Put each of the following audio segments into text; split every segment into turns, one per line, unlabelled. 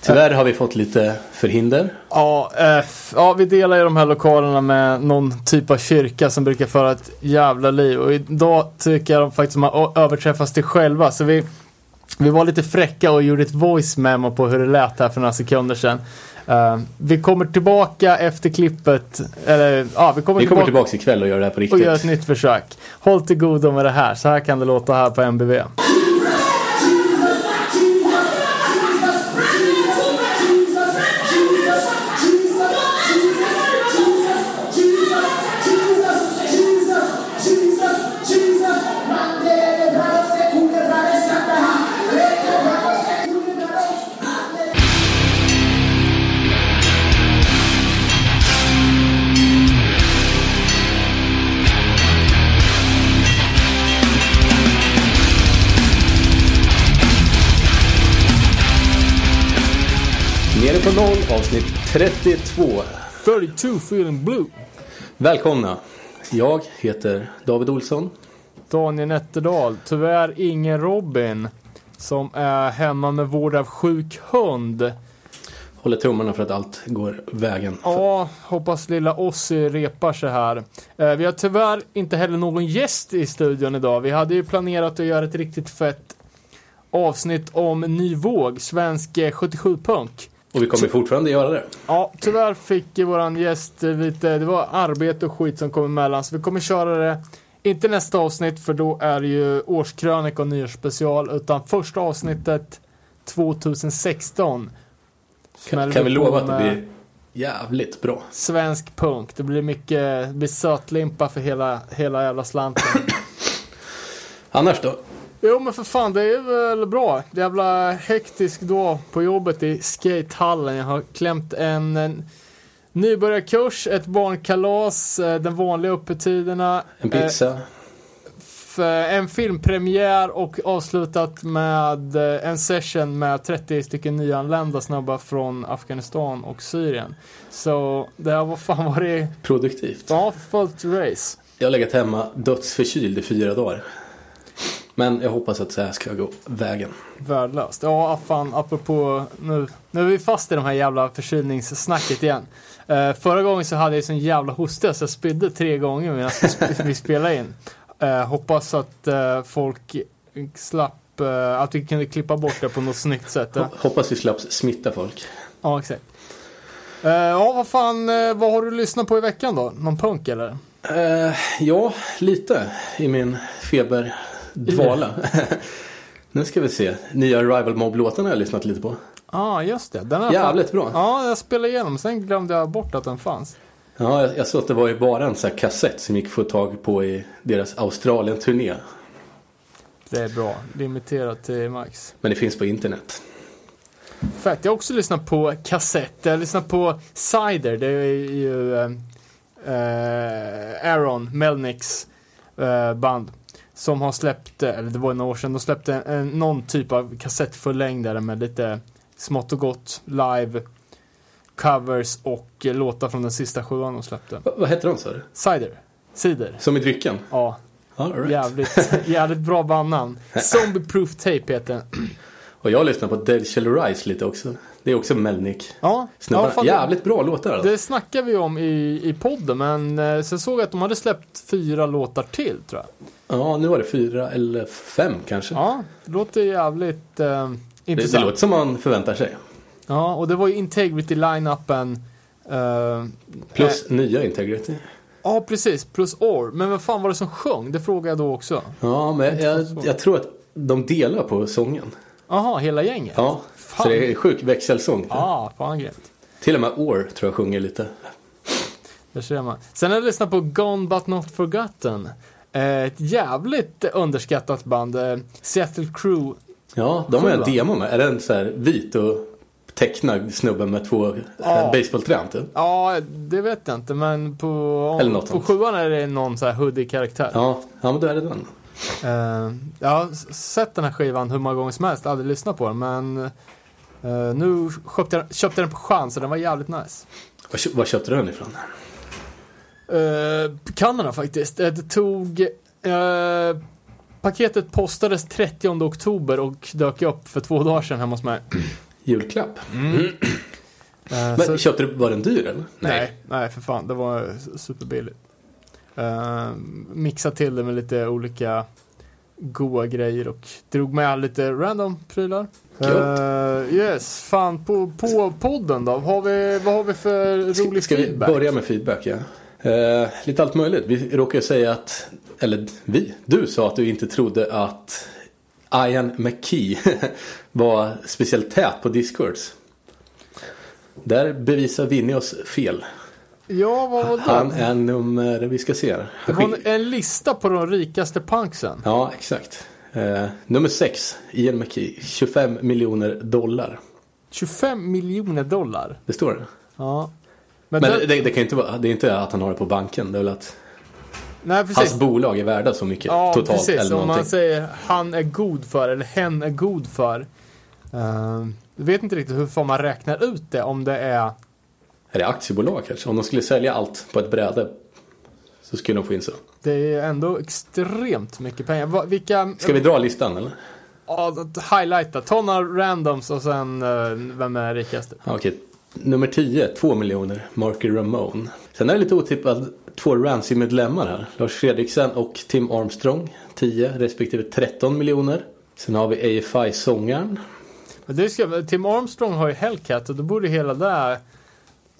Tyvärr har vi fått lite förhinder.
Ja, eh, ja, vi delar ju de här lokalerna med någon typ av kyrka som brukar föra ett jävla liv. Och idag tycker jag de faktiskt har ö- överträffat sig själva. Så vi, vi var lite fräcka och gjorde ett voice memo på hur det lät här för några sekunder sedan. Eh, vi kommer tillbaka efter klippet, eller ja,
Vi
vi kommer,
kommer
tillbaka
tillbaka ikväll och gör det här på
och gör ett
riktigt.
nytt försök. Håll till godo med det här, så här kan det låta här på MBV.
Nere på noll, avsnitt 32.
32 feeling blue.
Välkomna! Jag heter David Olsson.
Daniel Nätterdal, tyvärr ingen Robin som är hemma med vård av sjuk hund.
Håller tummarna för att allt går vägen.
Ja, hoppas lilla Ossi repar sig här. Eh, Vi har tyvärr inte heller någon gäst i studion idag. Vi hade ju planerat att göra ett riktigt fett avsnitt om ny våg, svensk eh, 77-punk.
Och vi kommer fortfarande göra det.
Ja, tyvärr fick ju våran gäst eh, lite, det var arbete och skit som kom emellan, så vi kommer köra det, inte nästa avsnitt för då är det ju årskrönika och nyårsspecial, utan första avsnittet 2016.
Kan,
Smäller
kan vi
på
lova att det
med
blir jävligt bra?
Svensk punk, det blir mycket, det blir sötlimpa för hela, hela jävla slanten.
Annars då?
Jo men för fan, det är väl bra. Jävla hektisk då på jobbet i skatehallen. Jag har klämt en, en nybörjarkurs, ett barnkalas, eh, den vanliga öppettiderna,
En
eh,
pizza?
f- eh, en filmpremiär och avslutat med eh, en session med 30 stycken nyanlända snubbar från Afghanistan och Syrien. Så det här var fan vad det
Produktivt.
Ja, fullt race.
Jag har legat hemma dödsförkyld i fyra dagar. Men jag hoppas att det här ska gå vägen.
Värdelöst. Ja, fan, apropå nu. Nu är vi fast i de här jävla förkylningssnacket igen. Eh, förra gången så hade jag sån jävla hosta så jag spydde tre gånger medan vi sp- vi spelade in. Eh, hoppas att eh, folk slapp, eh, att vi kunde klippa bort det på något snyggt sätt. eh.
Ho- Hoppas vi slapp smitta folk.
Ja, exakt. Eh, ja, vad fan, eh, vad har du lyssnat på i veckan då? Någon punk eller?
Eh, ja, lite i min feberdvala.
Mm.
nu ska vi se. Nya Rival Mob-låten har jag lyssnat lite på.
Ja, ah, just det. Den är
Jävligt bra.
Ja, jag spelade igenom, sen glömde jag bort att den fanns.
Ja, jag, jag såg att det var ju bara en sån här kassett som gick att få tag på i deras Australien-turné.
Det är bra. Limiterat till max.
Men det finns på internet.
Fett. Jag har också lyssnat på kassett. Jag har lyssnat på Cider. Det är ju eh, eh, Aaron Melnicks eh, band. Som har släppt, eller det var några år sedan, de släppte en, en, någon typ av kassettförlängdare med lite smått och gott live covers och eh, låtar från den sista sjuan de släppte.
Va, vad heter de sa du?
Cider. Cider.
Som i drycken?
Ja,
All right.
jävligt, jävligt bra bandnamn. Zombie Proof Tape heter den.
Och jag lyssnar på Dead Shall Rise lite också. Det är också Melnick.
Ja,
Snubbarna.
ja, fan, det-
Jävligt bra låtar alltså.
Det snackade vi om i, i podden, men eh, sen såg jag att de hade släppt fyra låtar till tror jag.
Ja, nu var det fyra eller fem kanske.
Ja, det låter jävligt eh,
det, det
intressant.
låter som man förväntar sig.
Ja, och det var ju Integrity line-upen. eh,
Plus nya Integrity.
Ja, precis. Plus Or. Men vad fan var det som sjöng? Det frågade jag då också.
Ja, men jag,
så.
jag tror att de delar på sången.
Jaha, hela gänget?
Ja,
Fan.
så det är sjuk växelsång.
ah, fan grymt.
Till och med År tror jag sjunger lite.
Där ser man. Sen har jag lyssnat på Gone But Not Forgotten. Eh, Ett jävligt underskattat band. eh, Seattle Crew
Ja, de har jag en
Sjuan.
demo med. Är den så här vit och tecknad snubbe med två
Ja.
ja. basebollträn typ?
Ja, det vet jag inte, men på,
Eller
om,
något
på
sånt.
sjuan är det någon så här hoodie karaktär.
Ja, ja, men då är det den.
Eh, jag har s- sett den här skivan hur många gånger som helst, aldrig lyssnat på den, men eh, nu köpte jag, köpte jag den på chans och den var jävligt nice.
Var, kö- var köpte du den ifrån?
Uh, Kanada faktiskt. Eh, Det tog... eh, paketet postades 30 oktober och dök upp för två dagar sedan hemma hos mig.
julklapp.
Eh,
Men
så-
köpte du, var den dyr eller?
Nej, nej för fan. Det var superbilligt. Uh, mixa till det med lite olika goa grejer och drog med lite random prylar.
Gött.
Eh, yes, fan på, på podden då? Har vi, vad har vi för rolig
Ska vi
feedback?
börja med feedback? Ja. Eh, lite allt möjligt. Vi råkar ju säga att, eller vi, du sa att du inte trodde att Ian McKee var speciellt tät på Discords. Där bevisar Vinny oss fel.
Ja, vad var det?
Han är nummer, vi ska se här.
det
Han
var
skick-
en- en lista på de rikaste punksen.
Ja, exakt. Eh, nummer 6, Ian McKee, 25 miljoner dollar.
25 miljoner dollar.
Det står det.
Ja. Men,
Men
den-
det, det kan ju inte vara, det är inte att han har det på banken. Det är väl att
nej, precis.
hans bolag är värda så mycket
Ja,
totalt.
precis.
eller
Om man
någonting.
säger han är god för eller hen är god för. Uh, jag vet inte riktigt hur fan man räknar ut det om det är...
Är det aktiebolag kanske? Om de skulle sälja allt på ett bräde så skulle de få in så.
Det är ändå extremt mycket pengar. Va, vilka...
Ska vi dra listan eller?
Ja, highlighta. Ta några randoms och sen eh, vem är rikaste?
Ja, Okej. Nummer 10, 2 miljoner, Marky Ramone. Sen är det lite otippat två Ramsey-medlemmar här. Lars Fredriksen och Tim Armstrong, 10 respektive 13 miljoner. Sen har vi AFI-sångaren.
Men det ska, Tim Armstrong har ju Hellcat och då borde hela det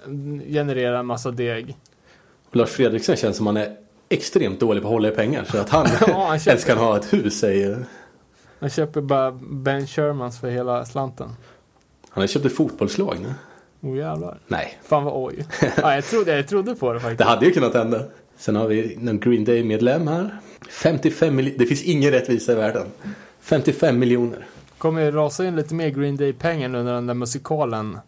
mm, generera en massa deg.
Och Lars Fredriksen känns som han är extremt dålig på att hålla i pengar. Så att han,
Ja, han känns-
ens kan ha ett hus är ju...
Man köper bara Ben Shermans för hela slanten.
Han har köpt ett fotbollslag nu.
Oh jävlar.
Nej,
Fan vad oj. Ja, jag, trodde, jag trodde på det faktiskt.
Det hade ju kunnat hända. Sen har vi någon Green Day-medlem här. 55 miljoner. Det finns ingen rättvisa i världen. 55 miljoner.
kommer ju rasa in lite mer Green Day-pengar nu när den där musikalen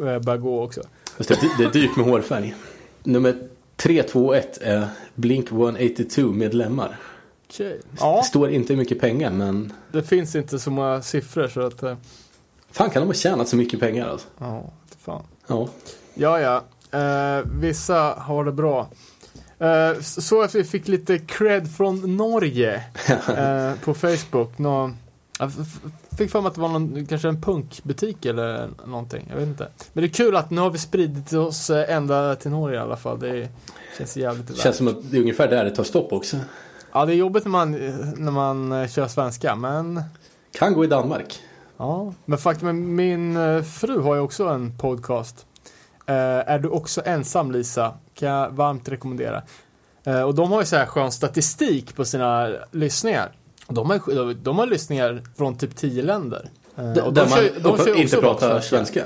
eh, börjar gå också.
Fast det, det är dyrt med hårfärg. Nummer 321 är Blink 182-medlemmar.
Okej. Ja,
Det står inte hur mycket pengar men
det finns inte så många siffror så att... eh,
fan kan de ha tjänat så mycket pengar alltså.
Ja, inte fan.
Ja.
Ja, ja. Eh, vissa har det bra. Eh, s- så att vi fick lite cred från Norge eh, på Facebook. Nå, jag f- f- fick för mig att det var någon, kanske en punkbutik eller någonting. Jag vet inte. Men det är kul att nu har vi spridit oss eh, ända till Norge i alla fall. Det känns jävligt
Det känns som att det är ungefär där det tar stopp också.
Ja, det är jobbigt när man, när man eh, kör svenska, men
Kan gå i Danmark.
ja. Men faktum är, min eh, fru har ju också en podcast. Eh, är du också ensam, Lisa? Kan jag varmt rekommendera. Eh, och de har ju så här skön statistik på sina lyssningar. De har, ju- de har lyssningar från typ tio länder. Eh, och
där
de kör ju- de
uppe-
kör ju
inte
också bara
pratar svenska.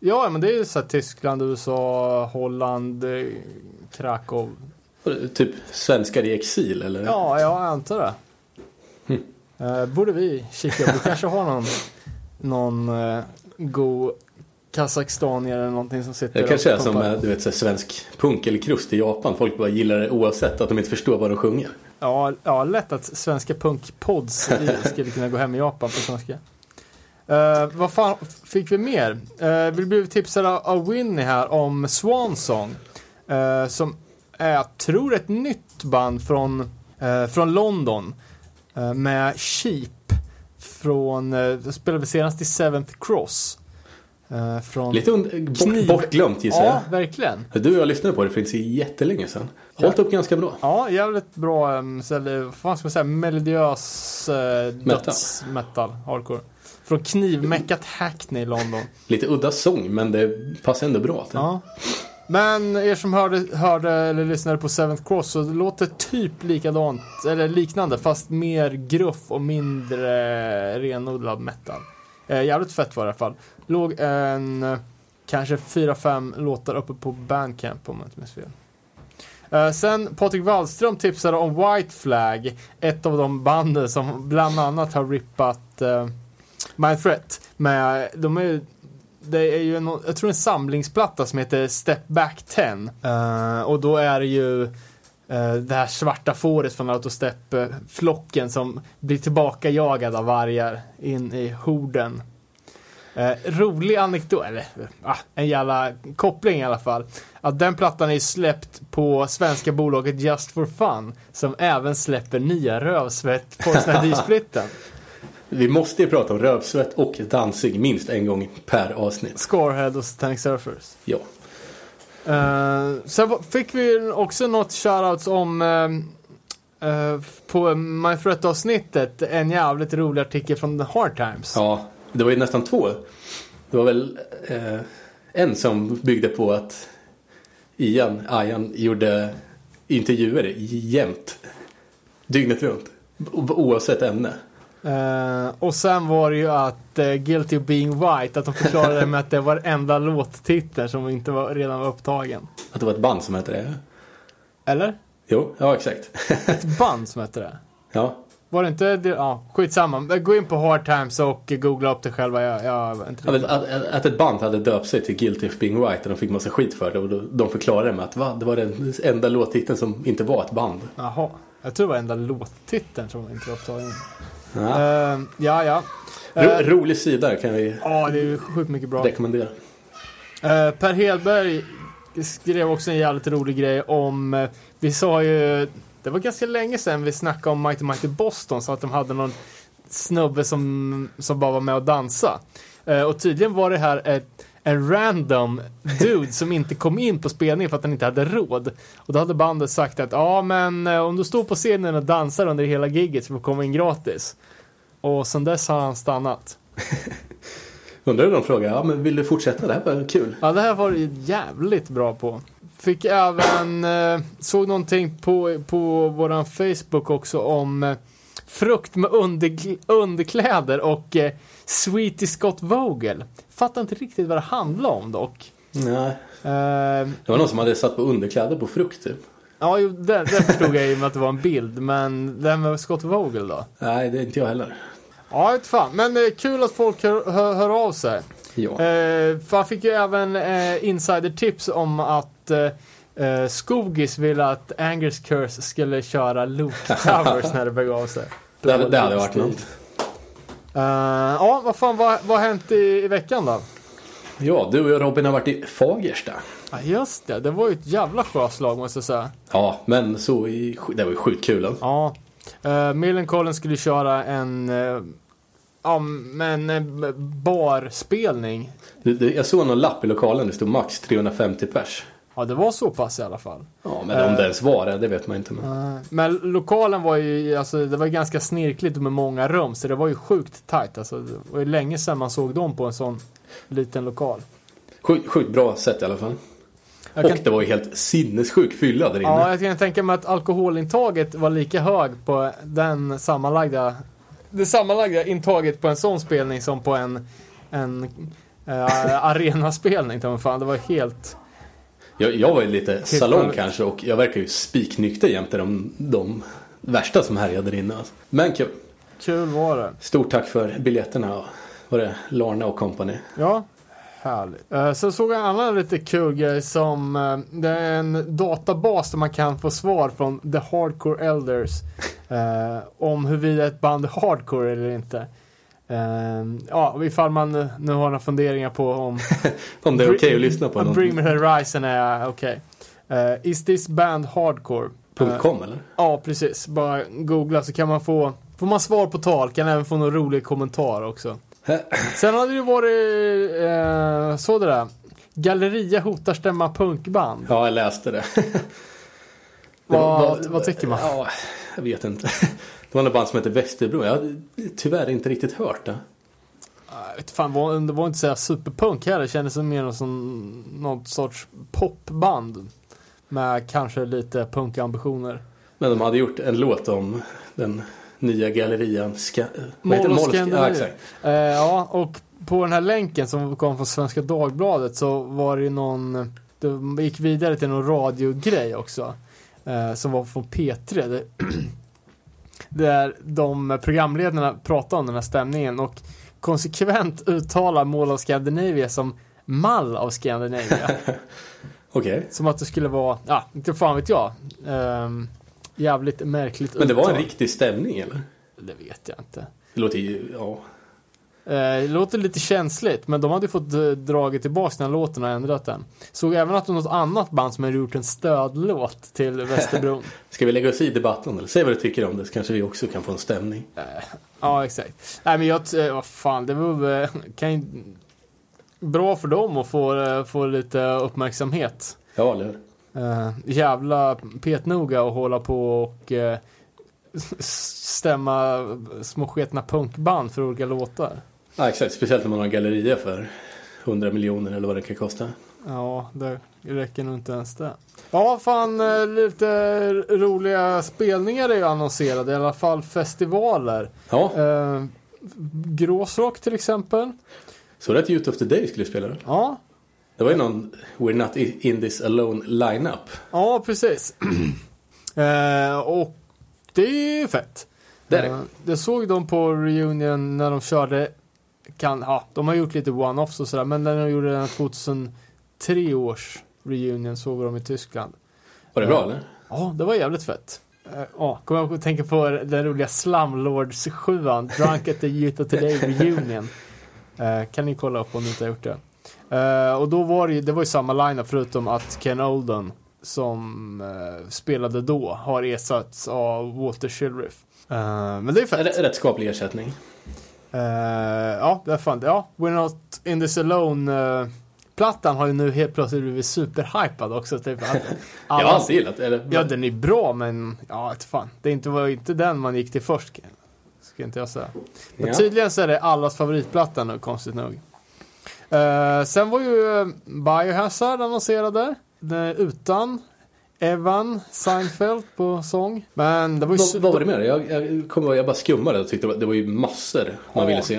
Ja, men det är ju så här Tyskland, USA, Holland, eh, Krakow.
Typ svenskar i exil eller?
Ja, jag antar det. Eh, borde vi kika på. kanske har någon, någon eh, god kazakstanier eller någonting som sitter
Det kanske är
och
som
pumpar.
eh, du vet, så här, svensk punk eller krust i Japan. Folk bara gillar det oavsett att de inte förstår vad de sjunger.
Ja, ja, lätt att svenska punkpods i- skulle kunna gå hem i Japan på svenska. Eh, vad fan fick vi mer? Eh, vi blev tipsade av- av Winnie här om Swansong. eh, som är, jag tror, ett nytt band från, eh, från London. eh, med Sheep. Från, eh, det spelade vi senast i Seventh Cross. eh, från,
Lite und-
Kniv.
bort, bortglömt gissar
ja, verkligen.
jag. Du och jag lyssnade på det för inte så jättelänge sedan. Hållt upp ganska bra.
Ja, jävligt bra, um, så, eller, vad fan ska man säga, melodiös uh,
Metal.
dödsmetal, hardcore. Från knivmeckat Hackney i London.
Lite udda sång men det passar ändå bra. till.
Ja. Men er som hörde, hörde eller lyssnade på Seventh Cross så det låter typ likadant, eller liknande, fast mer gruff och mindre renodlad metal. Eh, jävligt fett var det i alla fall. Låg en, eh, kanske 4-5 låtar uppe på Bandcamp om jag inte minns fel. Eh, sen Patrik Wallström tipsade om White Flag, ett av de banden som bland annat har rippat eh, Mind Threat. Men de är ju det är ju en, jag tror en samlingsplatta som heter Step Back 10. Eh, och då är det ju eh, det här svarta fåret från Autostep-flocken som blir tillbaka jagad av vargar in i horden. Eh, rolig anekdot, eller ah, en jävla koppling i alla fall. Att den plattan är ju släppt på svenska bolaget Just For Fun som även släpper nya rövsvett på splitten
Vi måste ju prata om rövsvett och dansig minst en gång per avsnitt.
Scarhead och Satanic Surfers.
Ja.
Eh, sen var- fick vi också något shoutouts om eh, eh, på My Threat-avsnittet en jävligt rolig artikel från The Hard Times.
ja, det var ju nästan två. Det var väl eh, en som byggde på att Ian, Ian gjorde intervjuer jämt. Dygnet runt. O- Oavsett ämne.
Eh, och sen var det ju att eh, Guilty of Being White, att de förklarade det med att det var enda låttitel som inte var, redan var upptagen.
Att det var ett band som hette det.
Eller?
Jo, ja exakt.
Ett band som hette det.
ja,
Var det inte det? Ja, skitsamma. Gå in på Hard Times och googla upp det själva. Jag, jag vet inte.
Ja, men Att, att, att ett band hade döpt sig till Guilty of Being White och de fick massa skit för det och då, de förklarade det med att va, det var den enda låttiteln som inte var ett band.
Jaha. Jag tror det var enda låttiteln som inte var upptagen.
Ja.
Eh, ja, ja.
Ro,
Eh,
rolig sida kan vi
Ja, det är ju sjukt mycket bra.
rekommendera.
Eh, per Hedberg skrev också en jävligt rolig grej om, eh, vi sa ju, det var ganska länge sedan vi snackade om Mighty Mighty Boston, så att de hade någon snubbe som, som bara var med och dansa. Eh, och tydligen var det här ett, en random dude som inte kom in på spelningen för att han inte hade råd. Och då hade bandet sagt att, ja men eh, om du står på scenen och dansar under hela gigget så får du komma in gratis. Och sen dess har han stannat.
Undrar hur de frågar, ja men vill du fortsätta? Det här var kul.
Ja, det här var du jävligt bra på. Fick även, eh, såg någonting på, på våran Facebook också om eh, frukt med under, underkläder och eh, Sweetie Scott Vogel. Fattar inte riktigt vad det handlar om dock.
Nej. Det
Eh,
var någon som hade satt på underkläder på frukt typ.
ja, jo, det, det förstod jag i och med att det var en bild, men det här med Scott Vogel då?
Nej, det är inte jag heller.
Ja, inte fan. Men eh, kul att folk hör, hör, hör av sig.
Ja.
Eh, för han fick ju även eh, insidertips om att eh, eh, Skogis ville att Angers Curse skulle köra Luke-covers när det begav sig.
Det, hade- det hade varit något.
Eh, ja, vad fan, vad vad har hänt i, i veckan då?
Ja, du och jag Robin har varit i Fagersta.
Ja, just det. Det var ju ett jävla sjöslag måste jag säga.
Ja, men så i, det var ju sjukt kul. alltså.
Ja. Uh, Millencolin skulle köra en eh, Ja, men eh, barspelning.
Det- det- Jag såg någon lapp i lokalen, det stod max 350 pers.
Ja, det var så pass i alla fall.
Ja, men
Eh.
om det ens var det, det vet man inte. Men...
Nej, Men lokalen var ju, alltså det var ju ganska snirkligt med många rum, så det var ju sjukt tajt. Alltså, det var ju länge sedan man såg dem på en sån liten lokal.
Sjukt, sjukt bra sätt i alla fall.
Jag
och
kan,
det var ju helt sinnessjuk fylla där inne.
ja, jag kan tänka mig att alkoholintaget var lika hög på den sammanlagda, det sammanlagda intaget på en sån spelning som på en, en eh, arenaspelning. ta mig Fan, det var helt...
jag, jag var ju
Typ
lite salong
sjukt.
kanske och jag verkar ju spiknykter jämte de, de värsta som härjade där inne. Alltså. Men kul.
Kul var det.
Stort tack för biljetterna. och- Var det Larna och company?
Ja, härligt. Eh, sen såg jag en annan lite kul grej som eh, det är en databas där man kan få svar från The Hardcore Elders eh, om huruvida ett band är hardcore eller inte. Eh, ja, och ifall man nu- nu har några funderingar på om
Om det är
Bring-
okej att lyssna på
om
någon.
Bring Me The Horizon är okej. Eh, is this band hardcore? Eh,
.com eller?
Ja, precis. Bara googla så kan man få Får man svar på tal kan även få någon rolig kommentar också. Sen hade det ju varit eh, så det där. Galleria hotar stämma punkband.
Ja, jag läste det. Det
Vad-
var-
vad tycker man?
Ja, jag vet inte. Det var något band som hette Västerbro. Jag har tyvärr inte riktigt hört det.
Jag vet fan, var, det var inte så här superpunk heller. Det kändes som mer som något sorts popband. Med kanske lite punkambitioner.
Men de hade gjort en låt om den nya gallerian. Ska, vad heter det?
Moleskine.
Moleskine. Ja, exakt.
Eh, ja, och på den här länken som kom från Svenska Dagbladet så var det ju någon, det gick vidare till någon radiogrej också. Eh, som var från P3. Det- Där de programledarna pratade om den här stämningen och konsekvent uttalar Mål av Scandinavia som Mall av Scandinavia.
Okej.
som att det skulle vara, ja, inte fan vet jag. Ehm, jävligt märkligt
Men det var en
uttal.
riktig stämning eller?
Det vet jag inte.
Det låter ju, ja.
Eh, Det låter lite känsligt, men de hade ju fått eh, dragit tillbaka den här låten och ändrat den. Såg även att det är något annat band som har gjort en stödlåt till Västerbron.
Ska vi lägga oss i debatten eller? Säg vad du tycker om det så kanske vi också kan få en stämning.
Ja, exakt. Nej, men jag... t- eh, Vad fan, det var väl- eh, kan ju... Bra för dem att få, eh, få lite uppmärksamhet.
Ja, eller hur?
Eh, jävla petnoga och hålla på och eh, stämma små sketna punkband för olika låtar.
Ja, exakt. Speciellt när man har gallerier för 100 miljoner eller vad det kan kosta.
Ja, det räcker nog inte ens det. Ja, fan eh, lite roliga spelningar är ju annonserade, i alla fall festivaler.
Ja,
Eh, Gråsrock till exempel.
så det att Youth of the Day skulle spela då?
Ja,
Det var ju någon We're Not In This Alone lineup.
ja precis. eh, och det är ju fett.
Det är det.
Eh, Jag såg dem på reunion när de körde, kan, ja, de har gjort lite one-offs och sådär, men när de gjorde den här 2003 års reunion såg vi dem i Tyskland.
Var det bra eller?
Ja, det var jävligt fett. Eh, Ja, kommer jag att tänka på den roliga slumlords sjuan Drunk at the Youth of Today Reunion. Eh, Kan ni kolla upp om ni inte har gjort det. Eh, Och då var det ju, det var ju samma lineup förutom att Ken Oldon som eh, spelade då har ersatts av Walter Shilriff. Eh, Men det är fett.
Rätt, rätt skaplig ersättning.
Eh, ja, det är fan, ja, We're Not In This Alone eh, plattan har ju nu helt plötsligt blivit superhypad också. Typ, att
jag
alla-
har alltid gillat eller,
Ja, den är bra, men ja, vet fan. Det är inte, var ju inte den man gick till först. Ska inte jag säga. Men
Ja.
tydligen så är det allas favoritplatta nu, konstigt nog. Eh, sen var ju eh, Biohazard annonserade. Den är utan Evan Seinfeld på sång. Men det var ju...
Vad-
su-
Vad var det med det? Jag, jag kommer ihåg, jag bara skummade och tyckte det var- det var ju massor man
Ja.
ville se.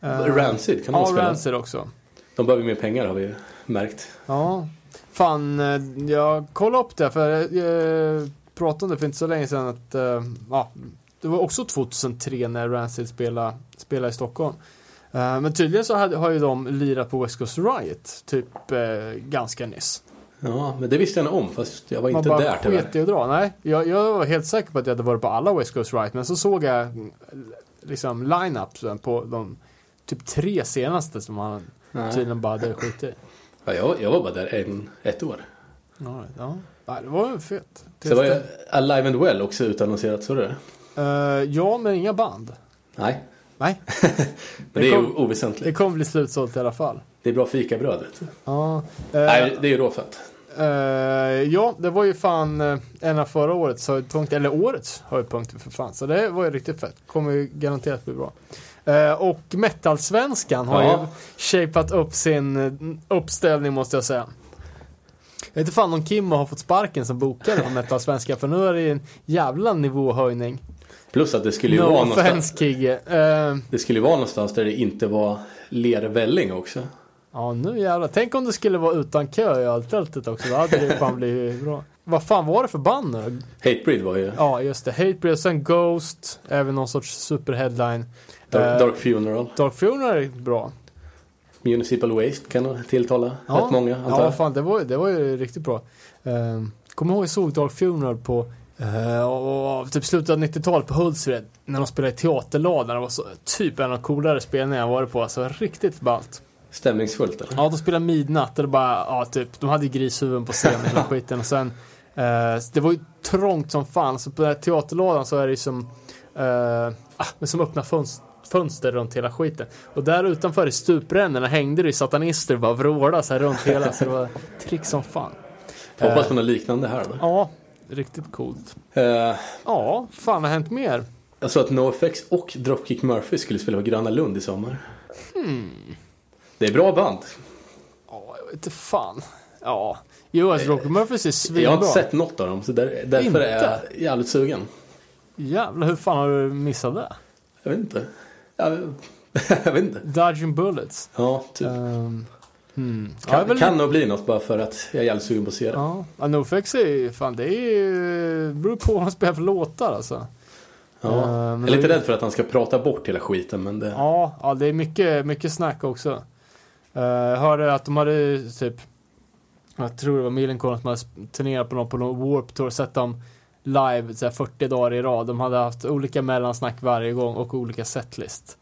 eh,
Rancid kan man
Ja,
spela.
Rancid också.
De behöver mer pengar har vi ju märkt.
Ja. Fan, eh, jag kollade upp det för jag pratade om det för inte så länge sedan att eh, ja, det var också 2003 när Rancid spelade, spelade i Stockholm. Eh, Men tydligen så hade, har ju de lirat på West Coast Riot typ eh, ganska nyss.
Ja, men det visste jag nog om fast jag var
Man
inte
bara
där tyvärr.
sket i att dra. Nej, jag, jag var helt säker på att jag hade varit på alla West Coast Riot men så såg jag mm, liksom line-upsen på de typ tre senaste som han
Nej.
tydligen bara hade skitit i.
Ja, jag, jag var bara där en, ett år.
Ja, ja. Nej, det var ju fett.
Så var ju Alive and Well också utannonserat, så det?
Eh, ja, men inga band.
Nej,
Nej,
men
Det
det är
kom-
ju oväsentligt.
det kommer bli slutsålt i alla fall.
Det är bra fikabröd vet du.
Ja, eh,
Nej, det är ju råfett.
eh, ja, det var ju fan eh, en av förra årets höjdpunkter, eller årets höjdpunkter för fan. Så det var ju riktigt fett. Kommer ju garanterat bli bra. Eh, och metalsvenskan har
Ja.
ju shapat upp sin eh, uppställning måste jag säga. Jag vet inte fan om Kimmo har fått sparken som bokare på metalsvenskan för nu är det ju en jävla nivåhöjning.
Plus att det skulle ju vara
No
någonstans.
offense Kigge. Eh,
Det skulle ju vara någonstans där det inte var lervälling också.
Ja, nu jävlar. Tänk om det skulle vara utan kö i öltältet också. Då hade det fan blivit bra. Vad fan var det för band nu?
Hatebreed var ju
Ja, just det. Hatebreed, sen Ghost, även någon sorts superheadline.
Dark,
Eh,
Dark Funeral.
Dark Funeral är bra.
Municipal Waste kan tilltala
Ja.
rätt många antar
Ja,
jag.
fan, det var, ju- det var ju riktigt bra. Eh, Kommer ihåg jag såg Dark Funeral på eh, och, och, typ slutet av 90-talet på Hultsfred. När de spelade i Teaterladan. Det var så, typ en av de coolare spelningarna jag varit på. Alltså riktigt ballt.
Stämningsfullt eller?
Ja, de spelade midnatt och det bara, ja typ, de hade ju grishuvuden på scenen och skiten och sen, eh, det var ju trångt som fan, så på den här teaterlådan så är det ju som, eh, ah, men som öppna fönster fönster runt hela skiten. Och där utanför i stuprännorna hängde det ju satanister och bara vrålade så här runt hela. Så det var trick som fan. Eh.
Hoppas på något liknande här då.
Ja, riktigt coolt.
Eh,
Ja, fan har hänt mer?
jag sa att NoFX och Dropkick Murphy skulle spela på Gröna Lund i sommar.
Hmm.
Det är bra band.
Ja, jag vet inte fan. Ja, jo alltså Rocky Murphys är svinbra.
Jag har inte sett något av dem så där, därför
Inte?
är jag jävligt sugen.
Jävlar, hur fan har du missat det?
Jag vet inte. Jag, jag vet inte.
Dodging Bullets.
Ja, typ.
Ehm, hmm. ja, det är
kan,
väl-
kan nog bli något bara för att jag är jävligt sugen på att se det.
Ja, ja Nofex är ju, fan det är ju, beror på vad man spelar för låtar alltså.
Ja.
Eh, men
jag är lite
det-
rädd för att han ska prata bort hela skiten men det...
Ja, ja det är mycket, mycket snack också. Eh, Jag hörde att de hade typ, jag tror det var Millencolin som hade turnerat på någon på någon Warp Tour, sett dem live så här, 40 dagar i rad. De hade haft olika mellansnack varje gång och olika setlist.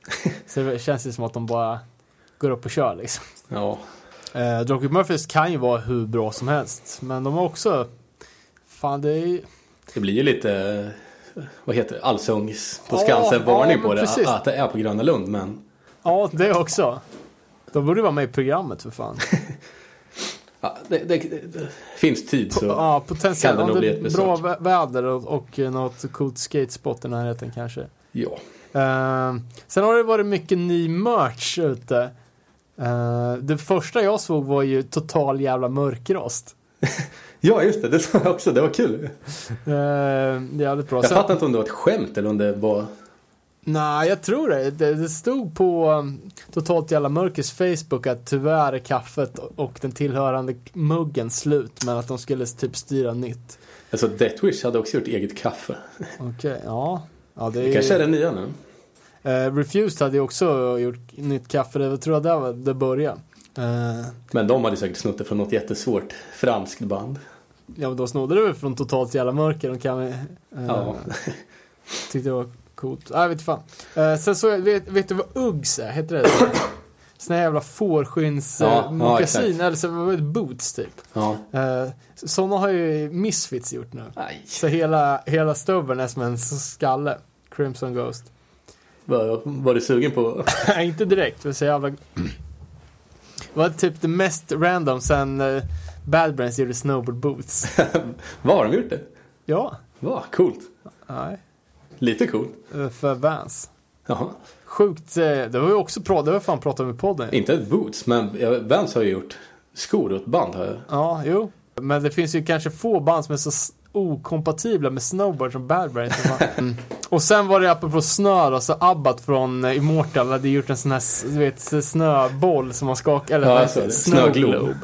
så det känns ju som att de bara går upp och kör liksom.
Ja.
Eh, Dropkick Murphys kan ju vara hur bra som helst, men de har också... Fan, det är ju...
Det blir ju lite eh, vad heter det, allsångs på Skansen varning
ja,
på
men
det.
precis.
Att det är på Gröna Lund men
Ja, det också. De borde vara med i programmet för fan.
ja, det, det, det finns tid så.
Ja,
Kan
potentiellt.
det
Om
nog
det
bli
är
ett
bra
besök.
vä- väder och, och något coolt skatespot i närheten kanske.
Ja.
Ehm, sen har det varit mycket ny merch ute. Ehm, det första jag såg var ju total jävla mörkrost.
ja, just det. Det sa jag också. Det var kul.
Ehm, jävligt bra.
Jag
Sen,
fattar inte om det var ett skämt eller om det var...
nej, jag tror det. det. Det stod på um, Totalt Jävla Mörkers Facebook att tyvärr är kaffet och den tillhörande muggen slut. Men att de skulle typ styra nytt.
Alltså Deathwish hade också gjort eget kaffe.
Okej, ja. ja det är
Det kanske är det nya nu.
Eh, Refused hade ju också gjort nytt kaffe, det var- tror jag där var- det började. Eh,
Men de hade säkert snott det från något jättesvårt franskt band.
ja, men de snodde det väl från Totalt Jävla Mörker, de kan väl, eh,
Ja.
Tyckte det var coolt. Nej, vet fan. Eh, sen så, vet, vet du vad Uggs är? Heter det så? Såna här jävla fårskinns
Ja,
eh,
ja,
mockasin,
exakt.
eller så var det boots typ.
ja.
Eh, sådana har ju Misfits gjort nu.
Nej.
Så hela, hela stubben är som en skalle. Crimson Ghost.
Var, var du sugen på...
Nej, inte direkt. Det var så jävla... Det var typ det mest random sen eh, Bad Brains gjorde Snowboard Boots.
Vad har de gjort det?
Ja.
Vad coolt.
Nej.
Lite coolt.
eh, För Vans.
Jaha.
Sjukt. eh, Det var ju också bra. Det var fan pratat om i podden.
Inte ett boots, men jag- Vans har ju gjort skor åt band. Har jag.
Ja, jo. Men det finns ju kanske få band som är så s- okompatibla med snowboard som Bad Brains. Det var- Mm. Och sen var det apropå snö då, så Abbat från eh, Immortal hade gjort en sån här, s- du vet, s- snöboll som man skakar, eller
Ja,
vad
jag
heter det?
såg det. Snöglob.
Snöglob.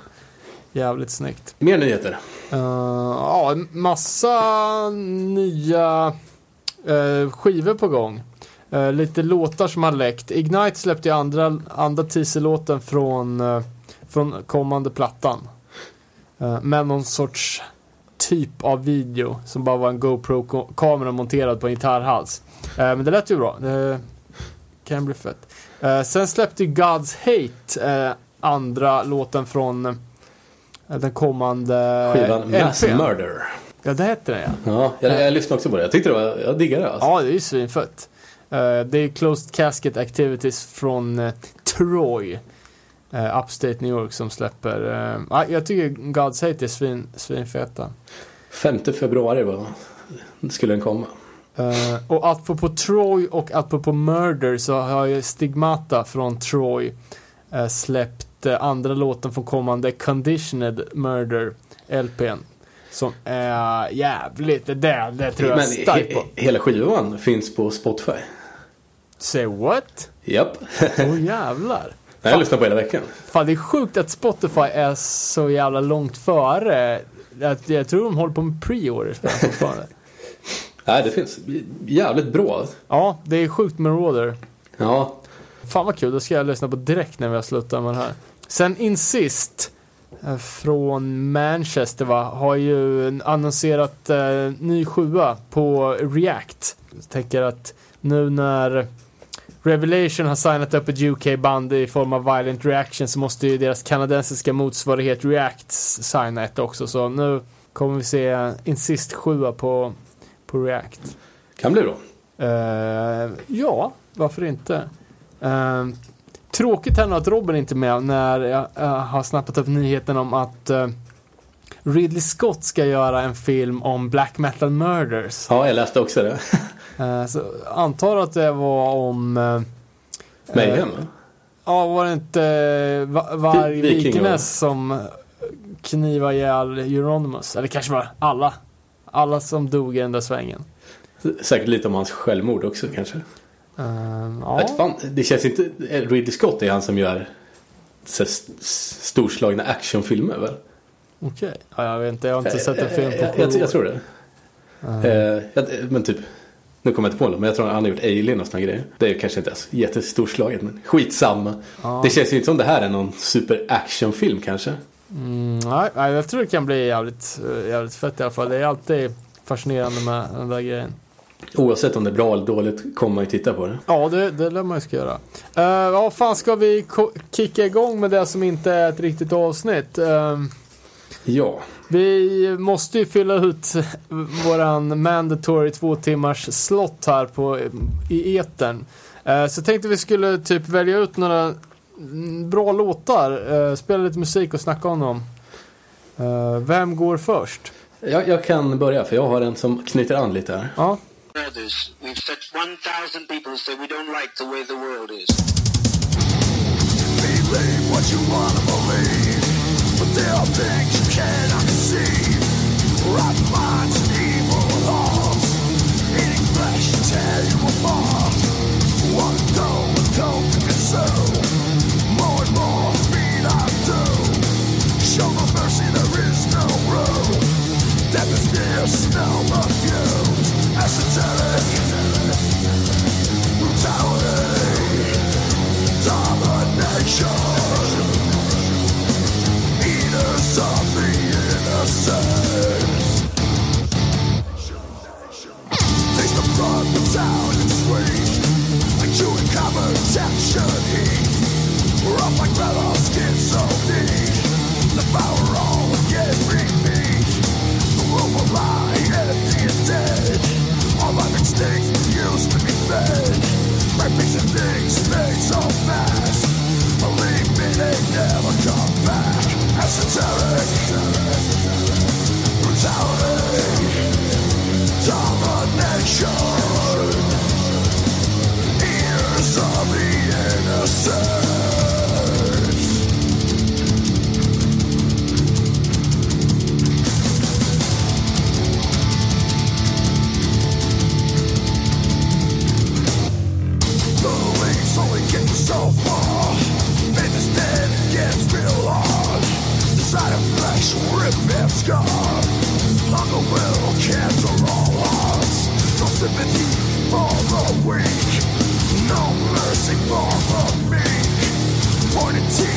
Jävligt snyggt.
Mer nyheter.
Eh, ja, en massa nya eh, skivor på gång. Eh, lite låtar som har läckt. Ignite släppte ju andra, andra teaserlåten från, eh, från kommande plattan. Eh, med någon sorts typ av video som bara var en GoPro-kamera monterad på en gitarrhals. Eh, men det lät ju bra. Det kan bli fett. Eh, sen släppte ju God's Hate eh, andra låten från eh, den kommande
Skivan Mass
LP:n.
Murder.
Ja, det hette den ja.
Ja, jag, jag lyssnade också på det. Jag tyckte det var... Jag diggade det. Alltså.
Ja, det är ju svinfett. Eh, det är Closed Casket Activities från eh, Troy, eh, Upstate New York, som släpper. eh, ja, jag tycker God's Hate är svin, svinfeta.
5 februari var, skulle den komma.
Eh, och apropå Troy och apropå Murder så har ju Stigmata från Troy eh, släppt eh, andra låten från kommande Conditioned Murder LPn. Som är jävligt, det där det tror jag
Men
starkt på.
he, hela skivan finns på Spotify.
Say what?
Japp.
Åh jävlar.
Jag har lyssnat på hela veckan.
Fan det är sjukt att Spotify är så jävla långt före. Att jag tror de håller på med pre-orders bara fortfarande.
Nej, det finns. Jävligt bra.
ja, det är sjukt med Roder.
Ja,
Fan vad kul, det ska jag lyssna på direkt när vi har slutat med det här. Sen Insist eh, från Manchester va, har ju annonserat eh, ny sjua på React. Jag tänker att nu när Revelation har signat upp ett UK-band i form av Violent Reaction så måste ju deras kanadensiska motsvarighet React signa ett också. Så nu kommer vi se Insist sjua på, på React.
kan bli bra.
Eh, ja, varför inte? Eh, tråkigt här nu att Robin inte är med när jag eh, har snappat upp nyheten om att eh, Ridley Scott ska göra en film om Black Metal Murders.
Ja, jag läste också det.
Eh, så antar att det var om... eh,
Mayhem.
eh, Ja, var det inte eh, Va- Varg
Viking, va?
Vikenäs som eh, knivade ihjäl Euronymous? Eller kanske var alla. Alla som dog i den där svängen.
Säkert lite om hans självmord också kanske.
Eh,
Jag
ja.
vet Fan, det känns inte... Ridley Scott är han som gör så här st- storslagna actionfilmer väl?
Okej. Ja, jag vet inte, jag har inte sett en
Eh,
film på
jag, jag,
sju
jag
år.
tror det. Eh, jag- Men typ... Nu kommer jag inte på det, men jag tror han har gjort Alien och såna grejer. Det är ju kanske inte ens jättestorslaget, men skitsamma. Det känns ju inte som det här är någon super actionfilm kanske.
Mm, nej, nej, jag tror det kan bli jävligt, eh, jävligt fett i alla fall. Det är alltid fascinerande med den där grejen.
Oavsett om det är bra eller dåligt kommer man ju titta på det.
Ja, det, det lär man ju ska göra. Eh, ja, fan ska vi ko- kicka igång med det som inte är ett riktigt avsnitt? Eh,
Ja,
Vi måste ju fylla ut våran mandatory två timmars slott här på, i etern. Eh, Så tänkte vi skulle typ välja ut några mm, bra låtar, eh, spela lite musik och snacka om dem. Eh, Vem går först?
jag, jag kan börja för jag har en som knyter an lite här.
Ja,
others. We've said 1,000 people who say we don't like the way the world is.
Believe what you wanna believe, but there are things you cannot see. Rotten minds and evil hearts, eating flesh to tear you apart. One goal and don't think it's so. More and more feed I do. Show no mercy, there is no room. Death is near, snow refused. Esoteric brutality domination. Eaters of the innocent. Taste the front, the town, and sweet. Like chewing covered tension heat. Rough like metal, skin so neat. Devour all again, repeat. The room of lie, empty and dead. All life extinct, used to be fed. My piece of things fade so fast. Believe me, they never come back. Esoteric. Brutality. Domination. Ears of the innocent. Beliefs only get you so far. Business dead it gets real hard. Inside of flesh, rip and scar. Hunger will cancel all hearts. No sympathy for the weak. No mercy for the meek. Pointed teeth.